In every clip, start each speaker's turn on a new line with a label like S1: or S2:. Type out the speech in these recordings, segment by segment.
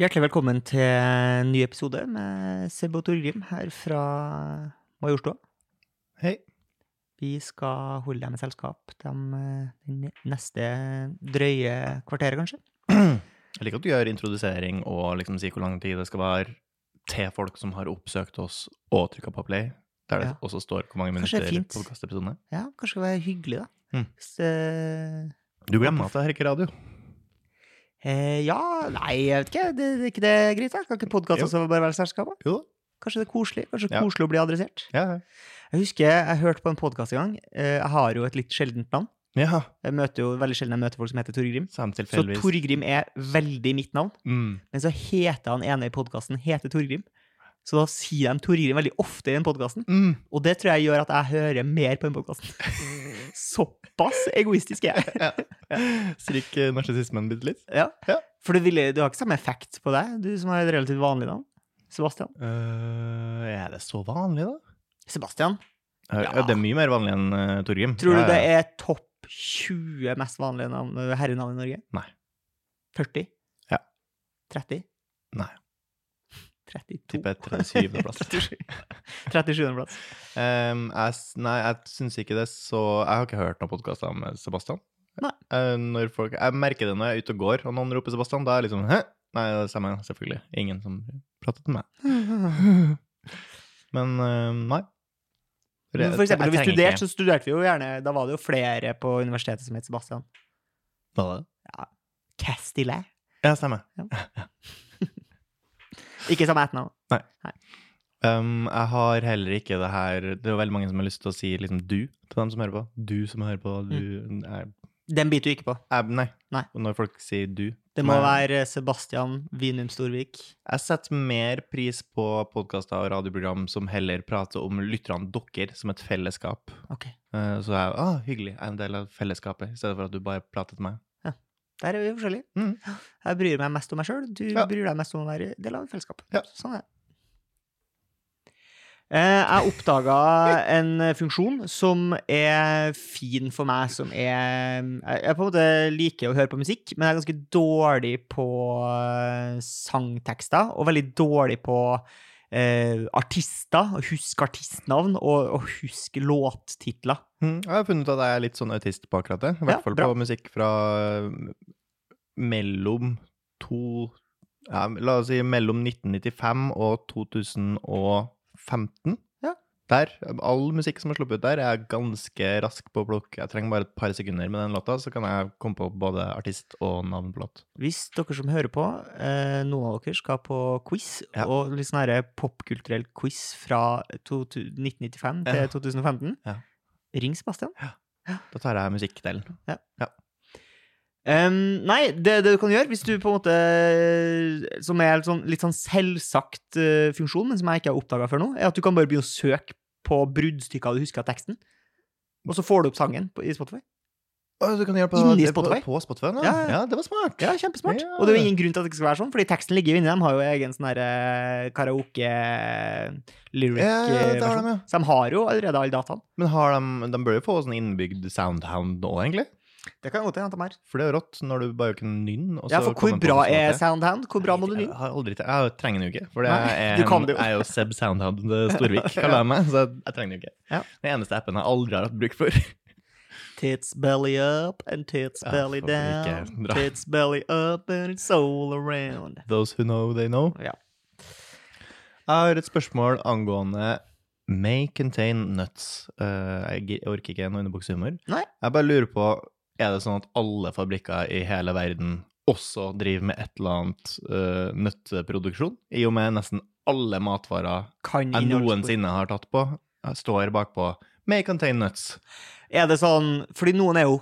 S1: Hjertelig velkommen til en ny episode med Seb og Torgrim her fra Majorstua.
S2: Hei.
S1: Vi skal holde deg med selskap de, de neste drøye kvarteret, kanskje.
S2: Jeg liker at du gjør introdusering og liksom sier hvor lang tid det skal være til folk som har oppsøkt oss og trykka på play, der det
S1: Ja.
S2: også står hvor mange
S1: Kanskje
S2: minutter
S1: det er fint.
S2: podkastepisodene er.
S1: Ja, kanskje det var hyggelig, da.
S2: Mm.
S1: Hvis, eh,
S2: Du glemmer at det her ikke er radio.
S1: eh, ja, nei, jeg vet ikke. Det, det, er ikke det greit, da? Kan ikke podkast
S2: Jo.
S1: også bare være selskap? da?
S2: Jo da.
S1: Kanskje det er koselig? Kanskje det er
S2: Ja.
S1: koselig å bli adressert?
S2: Ja.
S1: Jeg husker jeg hørte på en podkast en gang. Eh, Jeg har jo et litt sjeldent navn.
S2: ja.
S1: Jeg møter jo veldig sjelden jeg møter folk som heter Torgrim.
S2: Samme
S1: Så
S2: tilfeldigvis.
S1: Torgrim er veldig mitt navn.
S2: mm.
S1: Men så heter han ene i podkasten heter Torgrim. Så da sier de Torgrim veldig ofte i den podkasten.
S2: Mm.
S1: Og det tror jeg gjør at jeg hører mer på den podkasten. Såpass egoistisk er jeg.
S2: Ja. Stryk eh, narsissismen bitte litt.
S1: Ja.
S2: Ja.
S1: For du, ville, du har ikke samme effekt på deg, du som har et relativt vanlig navn. Sebastian.
S2: Eh, er det så vanlig, da?
S1: Sebastian,
S2: Eh,
S1: Ja.
S2: ja, Det er mye mer vanlig enn uh, Torgrim.
S1: tror
S2: Ja,
S1: du det
S2: ja.
S1: er topp 20 mest vanlige navn, herrenavn i Norge?
S2: Nei.
S1: 40?
S2: Ja.
S1: 30?
S2: Nei.
S1: 32?
S2: Tipper 37. plass.
S1: 37. plass.
S2: Ehm, jeg, s- nei, jeg syns ikke det, så Jeg har ikke hørt noen podkaster med Sebastian.
S1: Nei.
S2: Eh, når folk, jeg merker det når jeg er ute og går, og noen roper Sebastian. Da er jeg liksom Hæ? Nei, det er samme, selvfølgelig. Ingen som prater til meg. Men ehm, nei.
S1: Men For eksempel, når vi
S2: trenger
S1: studerte,
S2: ikke-
S1: så studerte vi jo gjerne Da var det jo flere på universitetet som het Sebastian.
S2: Hva var det?
S1: Castile.
S2: Ja, stemmer.
S1: Ikke samme etternavn.
S2: Ehm, jeg har heller ikke det her Det er jo veldig mange som har lyst til å si liksom du til dem som hører på. Du som hører på, du jeg,
S1: Den biter du ikke på.
S2: jeg, Nei.
S1: Mm. Nei.
S2: Og når folk sier du
S1: Det må
S2: Nei.
S1: være Sebastian Vinum Storvik.
S2: Jeg setter mer pris på podkaster og radioprogram som heller prater om lytterne dere som et fellesskap.
S1: Ok.
S2: Eh, Så er jeg ah, hyggelig, jeg er en del av fellesskapet, i stedet for at du bare prater til meg.
S1: Der er vi forskjellige.
S2: Mm.
S1: Jeg bryr meg mest om meg sjøl, du
S2: Ja.
S1: bryr deg mest om å være del av et fellesskap.
S2: Ja.
S1: Sånn er det. Eh, Jeg oppdaga en funksjon som er fin for meg, som er Jeg jeg på en måte liker å høre på musikk, men jeg er ganske dårlig på eh, sangtekster, og veldig dårlig på eh, artister, og huske artistnavn, og, og huske låttitler.
S2: Mm, Jeg har funnet ut at jeg er litt sånn autist på akkurat det. I hvert
S1: Ja,
S2: fall
S1: bra.
S2: på musikk fra eh, mellom to ja, La oss si mellom 1995 og 2015.
S1: Ja.
S2: Der, All musikk som er sluppet ut der, er jeg ganske rask på å plukke. Jeg trenger bare et par sekunder med den låta, så kan jeg komme på både artist og navn på låt.
S1: Hvis dere som hører på, eh, noen av dere skal på quiz,
S2: Ja.
S1: og litt sånn her popkulturell quiz fra to- to- 1995 til
S2: Ja.
S1: 2015,
S2: Ja.
S1: ring Sebastian.
S2: Da tar jeg musikkdelen.
S1: Em, nei, det, det du kan gjøre, hvis du på en måte Som er litt sånn, litt sånn selvsagt eh, funksjon, men som jeg ikke har oppdaga før nå, er at du kan bare begynne å søke på bruddstykker du husker av teksten. Og så får du opp sangen på, i Spotify.
S2: Å, Du kan gjøre på,
S1: Inni
S2: det- på,
S1: Spotify?
S2: på Spotify? nå?
S1: Ja, ja.
S2: ja, det var smart.
S1: Ja, kjempesmart.
S2: Ja.
S1: Og det er jo ingen grunn til at det ikke skal være sånn, fordi teksten ligger jo inni dem. Har jo egen sånn herre
S2: Ja, ja, det har
S1: karaoke-lyric-versjon.
S2: de, ja.
S1: Så de har jo allerede alle dataene.
S2: Men har de, de bør jo få sånn innbygd soundhound nå, egentlig?
S1: Det kan godt hende at de har.
S2: For det er jo rått når du bare kan nynne. og
S1: Ja,
S2: så
S1: for hvor
S2: kommer på
S1: bra
S2: hvordan
S1: er
S2: det
S1: Soundhound? Hvor bra må du
S2: Jeg
S1: nynne?
S2: har aldri til. Jeg trenger den jo ikke. For det
S1: Nei,
S2: er,
S1: du kan det jo.
S2: jeg er jo Seb Soundhound Storvik, kaller jeg meg. Så jeg trenger den jo ikke.
S1: Ja.
S2: Den eneste appen jeg aldri har hatt bruk for.
S1: Tits belly up and tits
S2: Ja,
S1: belly
S2: for ikke
S1: down.
S2: bra.
S1: Tits belly up and it's all around.
S2: Those who know, they know.
S1: Ja.
S2: Jeg har et spørsmål angående May contain nuts. Eh, jeg gi- orker ikke noe underbuksehumor.
S1: Nei.
S2: Jeg bare lurer på, er det sånn at alle fabrikker i hele verden også driver med et eller annet eh, nøtteproduksjon? I og med nesten alle matvarer
S1: Kan
S2: jeg
S1: inneholde spor.
S2: noensinne har tatt på, jeg står bakpå May contain nuts.
S1: Er det sånn Fordi noen er jo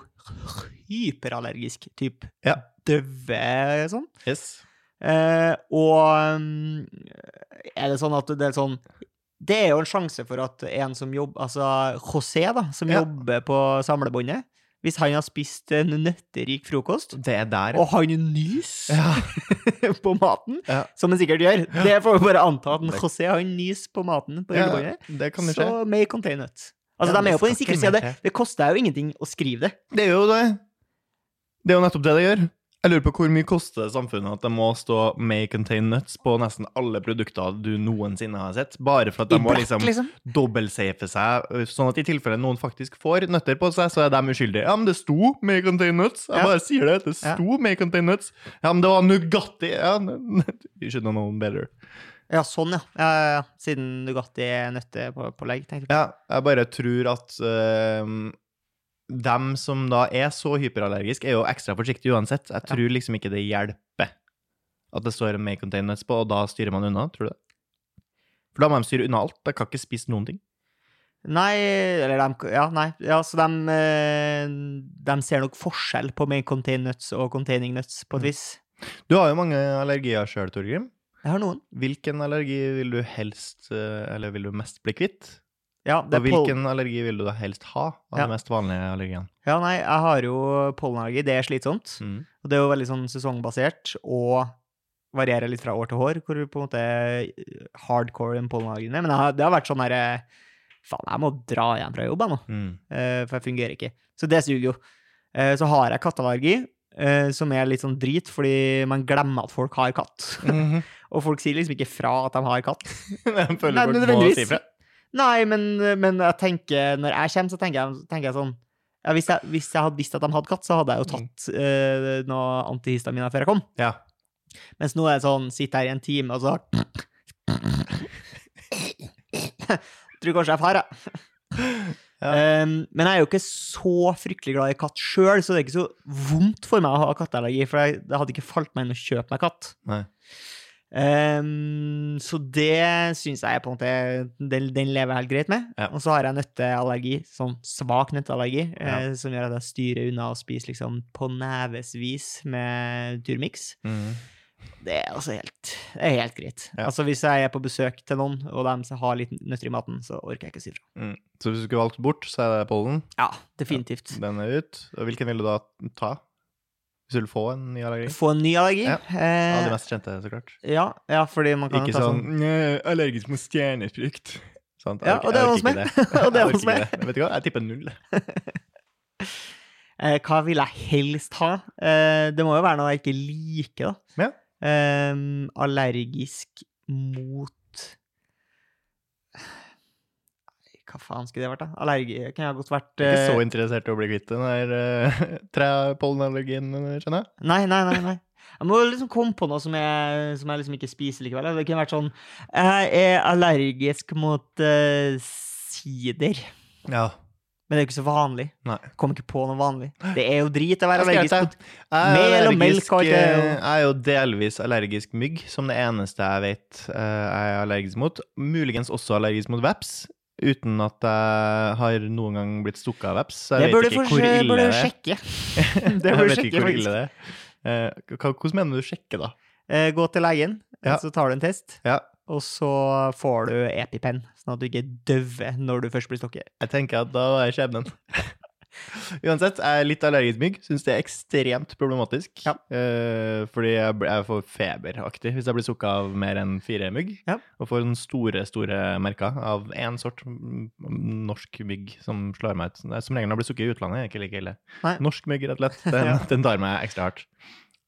S1: hyperallergisk, type
S2: Ja.
S1: døve sånn.
S2: Yes.
S1: Eh, og mm, er det sånn at det er sånn Det er jo en sjanse for at en som jobber Altså José, da, som
S2: Ja.
S1: jobber på samlebåndet Hvis han har spist en nøtterik frokost,
S2: Det er der.
S1: og han nyser
S2: Ja.
S1: på maten,
S2: Ja.
S1: som han sikkert gjør Det får vi bare anta at en
S2: Det-
S1: José han nyser på maten på
S2: ja,
S1: rullebåndet.
S2: det kan jo
S1: så
S2: skje.
S1: may contain it. Altså,
S2: Ja,
S1: de er
S2: det
S1: jo på den
S2: skal
S1: sikre
S2: ikke
S1: sida.
S2: mer
S1: Det, det koster jo ingenting å skrive det.
S2: Det er jo det. Det er jo nettopp det det gjør. Jeg lurer på hvor mye koster det samfunnet at det må stå 'may contain nuts' på nesten alle produkter du noensinne har sett, bare for at de må liksom dobbeltsafe seg, sånn at i tilfelle noen faktisk får nøtter på seg, så er de uskyldige. Ja, men det sto 'may contain nuts'. Jeg
S1: Ja.
S2: bare sier det. Det
S1: Ja.
S2: sto 'may contain nuts'. Ja, men det var Nugatti. Ja, men- you should have known better.
S1: Ja, sånn, ja. ja, ja, ja. Siden Nugatti er nøttepålegg, tenkte jeg.
S2: Ja, jeg bare tror at øhm, dem som da er så hyperallergisk, er jo ekstra forsiktige uansett. Jeg tror liksom ikke det hjelper at det står May contain nuts på, og da styrer man unna, tror du det? For da må de styre unna alt. De kan ikke spise noen ting.
S1: Nei, eller de Ja, nei. Ja, så de, eh, de ser nok forskjell på main contain nuts og containing nuts,
S2: Mm.
S1: på et vis.
S2: Du har jo mange allergier sjøl, Torgrim.
S1: Jeg har noen.
S2: Hvilken allergi vil du helst, øh, eller vil du mest bli kvitt?
S1: Ja,
S2: Og
S1: det er pol-
S2: hvilken allergi vil du da helst ha av
S1: Ja.
S2: de mest vanlige allergiene?
S1: ja, nei, jeg har jo pollenallergi. Det er slitsomt.
S2: Mm.
S1: Og det er jo veldig sånn sesongbasert og varierer litt fra år til år, hvor du på en måte er hardcore den pollenallergien er. Men jeg har, det har vært sånn herre Faen, jeg må dra hjem fra jobb, jeg nå,
S2: Mm.
S1: eh, for jeg fungerer ikke. Så det suger jo. Eh, Så har jeg katteallergi, eh, som er litt sånn drit, fordi man glemmer at folk har katt.
S2: Mhm.
S1: Og folk sier liksom ikke fra at de har katt.
S2: Jeg føler
S1: Nei,
S2: folk må
S1: nødvendigvis.
S2: si fra.
S1: Nei, men, men jeg tenker, når jeg kommer, så tenker jeg, tenker jeg sånn ja, hvis, jeg, hvis jeg hadde visst at de hadde katt, så hadde
S2: Mm.
S1: jeg jo tatt eh, noe antihistamina før jeg kom.
S2: Ja.
S1: Mens nå er det sånn, sitter her i en time, og så Tror kanskje jeg far, jeg.
S2: Ja.
S1: Ehm, men jeg er jo ikke så fryktelig glad i katt sjøl, så det er ikke så vondt for meg å ha katteallergi, for jeg, det hadde ikke falt meg inn å kjøpe meg katt.
S2: Nei.
S1: Ehm, så det syns jeg på en måte den, den lever jeg helt greit med.
S2: Ja.
S1: Og så har jeg nøtteallergi, sånn svak nøtteallergi, eh,
S2: Ja.
S1: som gjør at jeg styrer unna og spiser liksom på nevesvis med turmix.
S2: Mhm.
S1: Det er altså helt, det er helt greit.
S2: Ja.
S1: Altså Hvis jeg er på besøk til noen, og de har litt nøtter i maten, så orker jeg ikke si fra.
S2: Så hvis du skulle valgt bort, så er det pollen.
S1: Ja, definitivt.
S2: Den er ut. Og hvilken vil du da ta? Hvis du vil få en ny allergi?
S1: Få en ny allergi.
S2: Ja. Ja, det
S1: Eh,
S2: mest kjente, så klart.
S1: ja, ja, fordi man kan jo
S2: Ikke
S1: ta eh,
S2: sånn «Nei, allergisk mot stjernefrukt. Sant? Jeg
S1: Ja,
S2: orker-
S1: og det er
S2: jeg
S1: hos
S2: orker
S1: meg.
S2: ikke det.
S1: Og det er
S2: Jeg
S1: hos
S2: orker
S1: meg.
S2: ikke det. Vet du hva, jeg tipper null.
S1: eh, Hva vil jeg helst ha? Eh, det må jo være noe jeg ikke liker, da.
S2: Ja.
S1: Ehm, allergisk mot Nei, Hva faen skulle det vært, da? Allergi kan jeg ha godt vært
S2: Jeg er ikke
S1: eh,
S2: så interessert i å bli kvitt den der eh, trepollenallergien, skjønner jeg.
S1: Nei, nei, nei. nei. Jeg må liksom komme på noe som jeg, som jeg liksom ikke spiser likevel. Det kunne vært sånn Jeg er allergisk mot eh, sider.
S2: Ja.
S1: Men det er jo ikke så vanlig.
S2: Nei.
S1: Kom ikke på noe vanlig. Det er jo drit å være
S2: Jeg skal
S1: allergisk
S2: hjelpe
S1: mot
S2: deg. Jeg er
S1: Mel og
S2: allergisk,
S1: melk og alt det.
S2: eh, Jeg er jo delvis allergisk mygg, som det eneste jeg vet eh, jeg er allergisk mot. Muligens også allergisk mot veps, uten at jeg har noen gang blitt stukket av veps. Så
S1: Det
S2: jeg
S1: burde
S2: vet
S1: du
S2: ikke hvor
S1: forsø-
S2: ille
S1: burde
S2: det
S1: du
S2: er.
S1: sjekke. Det
S2: Jeg
S1: burde du
S2: vet
S1: sjekke,
S2: ikke hvor
S1: faktisk.
S2: ille det er. Eh, hva- Hvordan mener du sjekke, da?
S1: Eh, gå til legen,
S2: Ja.
S1: så tar du en test,
S2: Ja.
S1: og så får du EpiPen, sånn at du ikke døver når du først blir stukket.
S2: Jeg tenker at da er skjebnen. Uansett, jeg er litt allergisk mygg. Syns det er ekstremt problematisk.
S1: Ja.
S2: Eh, fordi jeg, bl- jeg får feberaktig hvis jeg blir stukket av mer enn fire mygg.
S1: Ja.
S2: Og får sånne store, store merker av én sort mm, norsk mygg som slår meg ut. Nei, Som regel når jeg blir stukket i utlandet, er det ikke like ille.
S1: Nei.
S2: Norsk mygg, rett og slett. Den,
S1: Ja.
S2: den tar meg ekstra hardt.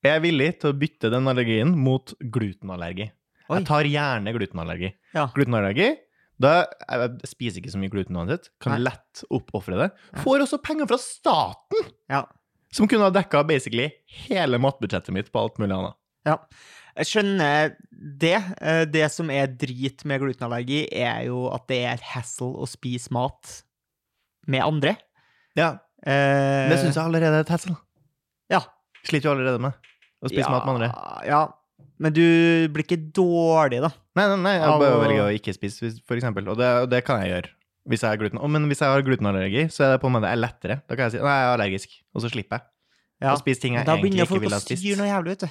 S2: Jeg er villig til å bytte den allergien mot glutenallergi.
S1: Oi.
S2: Jeg tar gjerne glutenallergi.
S1: Ja.
S2: Glutenallergi da jeg, jeg spiser ikke så mye gluten uansett. Kan
S1: Nei.
S2: lett oppofre det.
S1: Ja.
S2: Får også penger fra staten,
S1: Ja.
S2: som kunne ha dekka basically hele matbudsjettet mitt på alt mulig annet.
S1: Jeg skjønner det. Eh, Det som er drit med glutenallergi, er jo at det er et hassle å spise mat med andre.
S2: Ja,
S1: Eh,
S2: Det syns jeg allerede er et hessel.
S1: Ja.
S2: Sliter jo allerede med å spise mat med andre.
S1: Ja, men du blir ikke dårlig, da.
S2: Nei, nei, nei, jeg
S1: Av
S2: bare
S1: å-
S2: velger å ikke spise, hvis- for eksempel. Og det, og det kan jeg gjøre. Hvis jeg har gluten. Å, men hvis jeg har glutenallergi, så er det på en måte er lettere. Da kan jeg si nei, jeg er allergisk, og så slipper jeg
S1: Ja.
S2: å spise ting jeg
S1: Da
S2: egentlig
S1: begynner
S2: ikke
S1: folk
S2: ville
S1: å
S2: ha spist.
S1: styre noe jævlig, vet du.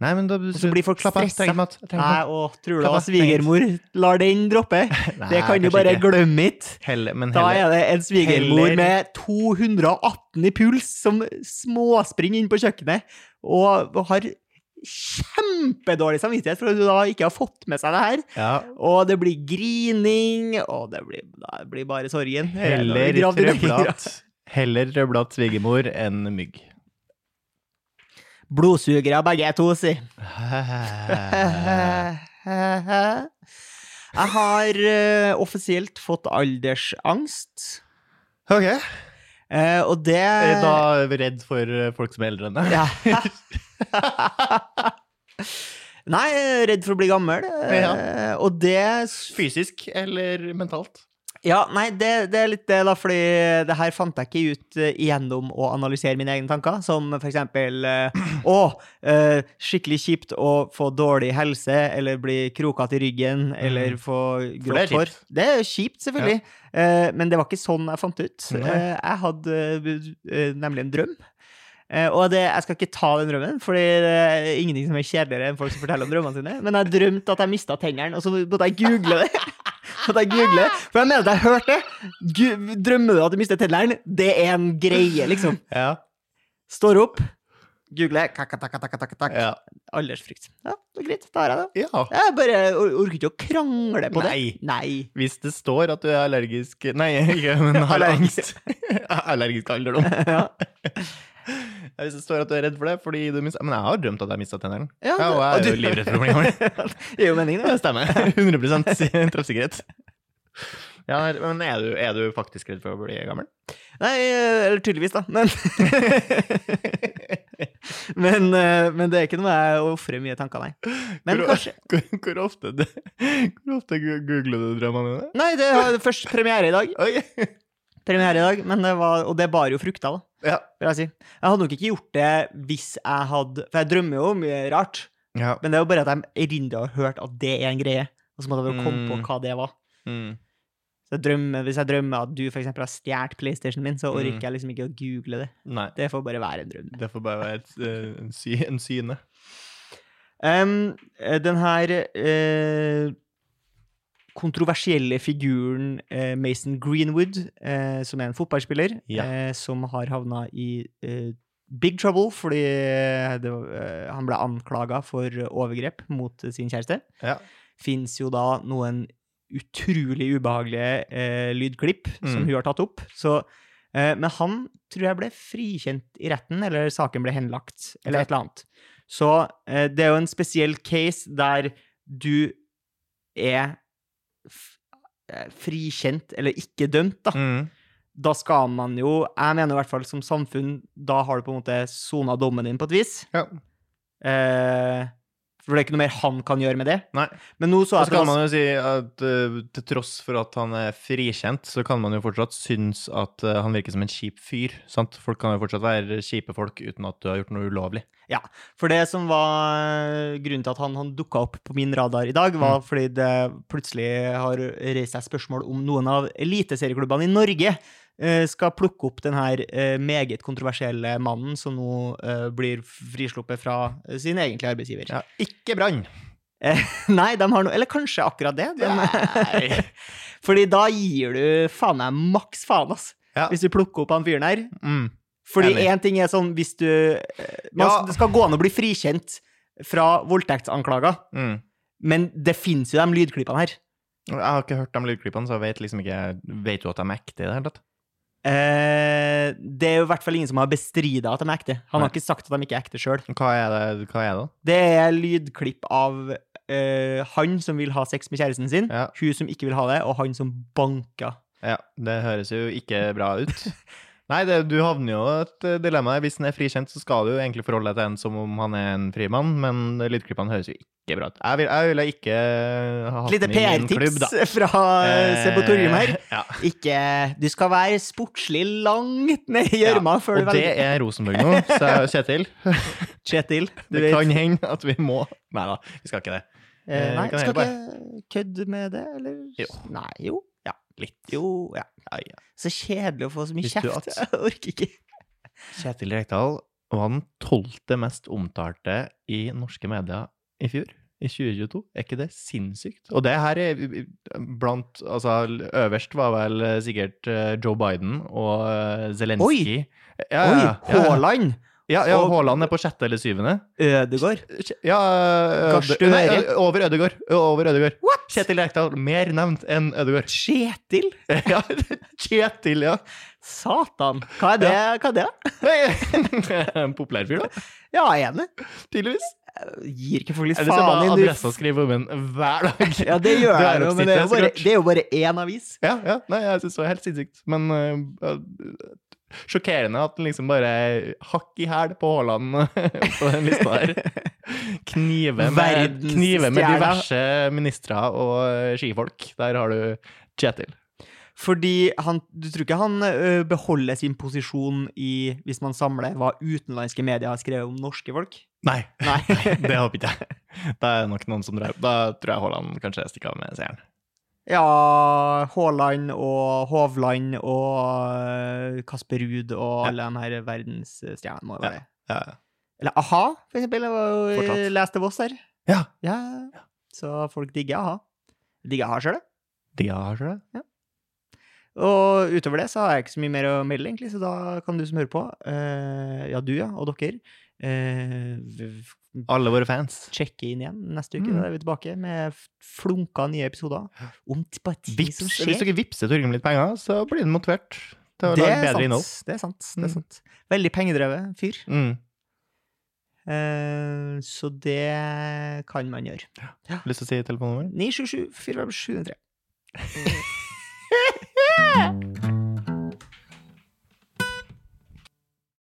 S2: Nei, men da
S1: så blir folk
S2: slapp av, jeg
S1: stresset.
S2: trenger mat, jeg trenger
S1: Nei, og tror du at
S2: Slapp av,
S1: svigermor lar den droppe?
S2: mat. Nei,
S1: Det kan du
S2: kanskje
S1: bare
S2: ikke.
S1: glemme it.
S2: Heller, men
S1: Da
S2: heller.
S1: er det en svigermor
S2: Heller-
S1: med 218 i puls som småspringer inn på kjøkkenet og har kjempedårlig samvittighet for at du da ikke har fått med seg det her.
S2: Ja,
S1: Og det blir grining, og det blir, det blir bare sorgen.
S2: heller
S1: Grav din egen grav.
S2: trøblat. Heller trøblat svigermor enn mygg.
S1: Blodsugere begge to, si.
S2: Hæ?
S1: Jeg har eh, offisielt fått aldersangst,
S2: Ok.
S1: eh, og det
S2: Er jeg da redd for eh, folk som er eldre enn deg?
S1: Ja. Nei, jeg er redd for å bli gammel, eh,
S2: Ja.
S1: og det
S2: Fysisk eller mentalt?
S1: Ja, nei, det, det er litt det, da, fordi det her fant jeg ikke ut eh, gjennom å analysere mine egne tanker, som for eksempel eh, Å, eh, skikkelig kjipt å få dårlig helse, eller bli krokete i ryggen, eller få
S2: Mm. For det
S1: grått
S2: er
S1: hår.
S2: kjipt.
S1: Det er kjipt, selvfølgelig, Eh, men det var ikke sånn jeg fant ut.
S2: Nei.
S1: Eh, jeg hadde eh, nemlig en drøm. Eh, og det, jeg skal ikke ta den drømmen, Fordi det er eh, ingenting som er kjedeligere enn folk som forteller om drømmene sine. Men jeg drømte at jeg mista tennene, og så måtte jeg google det. At jeg googler, det, For jeg mener at jeg hørte det. Gu- Drømmer du at du mister tennene? Det er en greie, liksom.
S2: Ja.
S1: Står opp, googler, kakka, takka, takka, takka, takka.
S2: Ja.
S1: aldersfrykt. Ja, det er greit. Da har jeg det.
S2: ja.
S1: Jeg bare or- orker ikke å krangle på
S2: Nei.
S1: det. Nei.
S2: Hvis det står at du er allergisk Nei, ikke, men har angst.
S1: Allergisk.
S2: allergisk alderdom.
S1: Ja.
S2: Ja, Hvis det står at du er redd for det fordi du mist... Men jeg har drømt at jeg mista tennene.
S1: Ja,
S2: Ja, og jeg er
S1: du-
S2: jo livredd for å bli gammel.
S1: Det gir jo mening,
S2: Det
S1: det.
S2: stemmer. 100 si- treffsikkerhet. Ja, men er du, er du faktisk redd for å bli gammel?
S1: Nei, eh, eller tydeligvis, da. Men, men, eh, men det er ikke noe jeg ofrer mye tanker, nei. Men
S2: hvor,
S1: kanskje
S2: hvor, hvor, ofte, hvor ofte gu- googler du drømmene dine?
S1: Nei, det har først premiere i dag.
S2: Oi.
S1: Premiere i dag, men det var, Og det bar jo frukter, da.
S2: Ja.
S1: vil jeg si. Jeg hadde nok ikke gjort det hvis jeg hadde For jeg drømmer jo om mye rart,
S2: ja.
S1: men det er jo bare at jeg erindra og hørte at det er en greie. Og så måtte jeg bare komme på
S2: Mm.
S1: hva det var.
S2: Mm.
S1: Så jeg drømmer, Hvis jeg drømmer at du for eksempel har stjålet PlayStationen min, så orker
S2: Mm.
S1: jeg liksom ikke å google det.
S2: Nei.
S1: Det får bare være en drøm.
S2: Det får bare være et, eh, en, sy, en syne.
S1: Um, eh, den her eh, kontroversielle figuren eh, Mason Greenwood, eh, som er en fotballspiller,
S2: Ja.
S1: eh, som har havna i eh, big trouble fordi eh, det, var- eh, han ble anklaga for overgrep mot eh, sin kjæreste.
S2: Ja.
S1: Fins jo da noen utrolig ubehagelige eh, lydklipp som
S2: Mm.
S1: hun har tatt opp. Så, eh, men han tror jeg ble frikjent i retten, eller saken ble henlagt, eller
S2: Ok.
S1: et eller annet. Så eh, det er jo en spesiell case der du er f eh, frikjent, eller ikke dømt, da.
S2: Mm.
S1: Da skal man jo, jeg mener i hvert fall som samfunn, da har du på en måte sona dommen din på et vis.
S2: Ja.
S1: Eh, for det er ikke noe mer han kan gjøre med det.
S2: Nei.
S1: Men nå så jeg
S2: Og så
S1: at det
S2: kan
S1: var-
S2: man jo si at eh, til tross for at han er frikjent, så kan man jo fortsatt synes at eh, han virker som en kjip fyr. Sant? Folk kan jo fortsatt være kjipe folk uten at du har gjort noe ulovlig.
S1: For det som var grunnen til at han, han dukka opp på min radar i dag,
S2: Mm.
S1: var fordi det plutselig har reist seg spørsmål om noen av eliteserieklubbene i Norge eh, skal plukke opp den her eh, meget kontroversielle mannen som nå eh, blir frisluppet fra eh, sin egentlige arbeidsgiver.
S2: Ja, ikke brann!
S1: Nei, de har noe Eller kanskje akkurat det. De,
S2: Nei.
S1: Fordi da gir du faen meg maks faen, ass.
S2: Ja.
S1: Hvis du plukker opp han fyren her.
S2: Mm.
S1: Fordi
S2: Enig.
S1: én ting er sånn hvis du eh, man,
S2: Ja.
S1: Det skal gå an å bli frikjent fra voldtektsanklager.
S2: Mm.
S1: Men det fins jo de lydklippene her.
S2: Jeg har ikke hørt de lydklippene, så jeg vet liksom ikke Vet du at de er ekte i det hele tatt?
S1: Eh, det er jo i hvert fall ingen som har bestrida at de er ekte. Han har
S2: Nei.
S1: ikke sagt at de ikke er ekte sjøl.
S2: Hva er det, hva er det?
S1: Det er lydklipp av eh, han som vil ha sex med kjæresten sin,
S2: Ja.
S1: hun som ikke vil ha det, og han som banker.
S2: Ja, det høres jo ikke bra ut. Nei, det, du havner jo i et eh, dilemma. her. Hvis han er frikjent, så skal du jo egentlig forholde deg til en som om han er en frimann, men lydklippene høres jo ikke bra ut. Jeg vil- jeg ville ikke eh, ha
S1: Et
S2: hatt
S1: lite
S2: den i min klubb, da.
S1: PR-tips fra eh, Se på Torgrim her.
S2: Eh, Ja.
S1: Ikke Du skal være sportslig langt ned i gjørma før du
S2: Og det
S1: velger.
S2: er Rosenborg nå, så Kjetil.
S1: Kjetil, du
S2: Det
S1: vet.
S2: kan hende at vi må Nei da, vi skal ikke det.
S1: eh, nei,
S2: vi kan
S1: skal
S2: heller
S1: ikke kødde med det, eller?
S2: Jo.
S1: Nei, jo. Ja.
S2: Litt.
S1: Jo, ja.
S2: Ja, ja.
S1: Så kjedelig å få så mye
S2: Visste du
S1: kjeft.
S2: at-
S1: Jeg orker ikke.
S2: Kjetil Rekdal var den tolvte mest omtalte i norske medier i fjor. I 2022. Er ikke det sinnssykt? Og det her er eh, blant Altså, øverst var vel eh, sikkert eh, Joe Biden og eh, Zelenskyj. Ja,
S1: Oi,
S2: ja, ja.
S1: Haaland!
S2: Ja, ja,
S1: og-
S2: Haaland er på sjette eller syvende.
S1: Ødegård.
S2: Ja eh,
S1: Gahr
S2: Øde- nei, eh,
S1: Støre.
S2: Over Ødegård. Over Ødegård.
S1: What?!
S2: Kjetil Rekdal mer nevnt enn Ødegaard.
S1: Kjetil?
S2: Ja, Kjetil, ja.
S1: Satan! Hva er det? Hva er det?
S2: Nei, En populær fyr, da.
S1: Ja, jeg er enig.
S2: Tydeligvis.
S1: Gir ikke folk litt
S2: Eller så er
S1: faen
S2: det
S1: i
S2: bare
S1: du-
S2: adressa skriver om en hver dag.
S1: Ja, det gjør
S2: Det er
S1: jeg jo, men det er jo bare,
S2: oppsnittet, så klart.
S1: det er jo bare én avis.
S2: Ja, ja. Nei, jeg syns det var helt sinnssykt. Men eh, ja, sjokkerende at den liksom bare hakk i hæl på Haaland eh, på den lista der. Knive med,
S1: Verdens
S2: knive med
S1: stjerne.
S2: diverse ministre og eh, skifolk. Der har du Kjetil.
S1: Fordi han, du tror ikke han ø, beholder sin posisjon i, hvis man samler hva utenlandske medier har skrevet om norske folk?
S2: Nei,
S1: Nei.
S2: det håper ikke jeg. Da er det nok noen som drar. Da tror jeg Haaland kanskje stikker av med seieren.
S1: Ja, Haaland og Hovland og ø, Kasper Ruud og alle de her verdensstjernene må jo være det.
S2: Ja.
S1: Eller a-ha, for eksempel. Jeg var jo
S2: Fortsatt.
S1: i- leste Voss her.
S2: Ja.
S1: ja. Så folk digger a-ha. Digger a-ha sjøl, jeg.
S2: De har ikke det?
S1: Og utover det så har jeg ikke så mye mer å melde, egentlig, så da kan du som hører på, eh, ja, du ja, og dere, eh, v- v-
S2: Alle våre fans.
S1: sjekke inn igjen neste uke.
S2: Mm.
S1: Da er vi tilbake med f- flunka nye episoder om t- bare ting
S2: Vips,
S1: som skjer.
S2: hvis dere vippser Torgrim litt penger, så blir den motivert til å
S1: det,
S2: lage
S1: er
S2: bedre innhold.
S1: sant, det er sant. Det er
S2: Mm.
S1: sant. Veldig pengedrevet fyr.
S2: Mm.
S1: Eh, så det kan man gjøre.
S2: Lyst til å si telefonnummer?
S1: 977 457 703.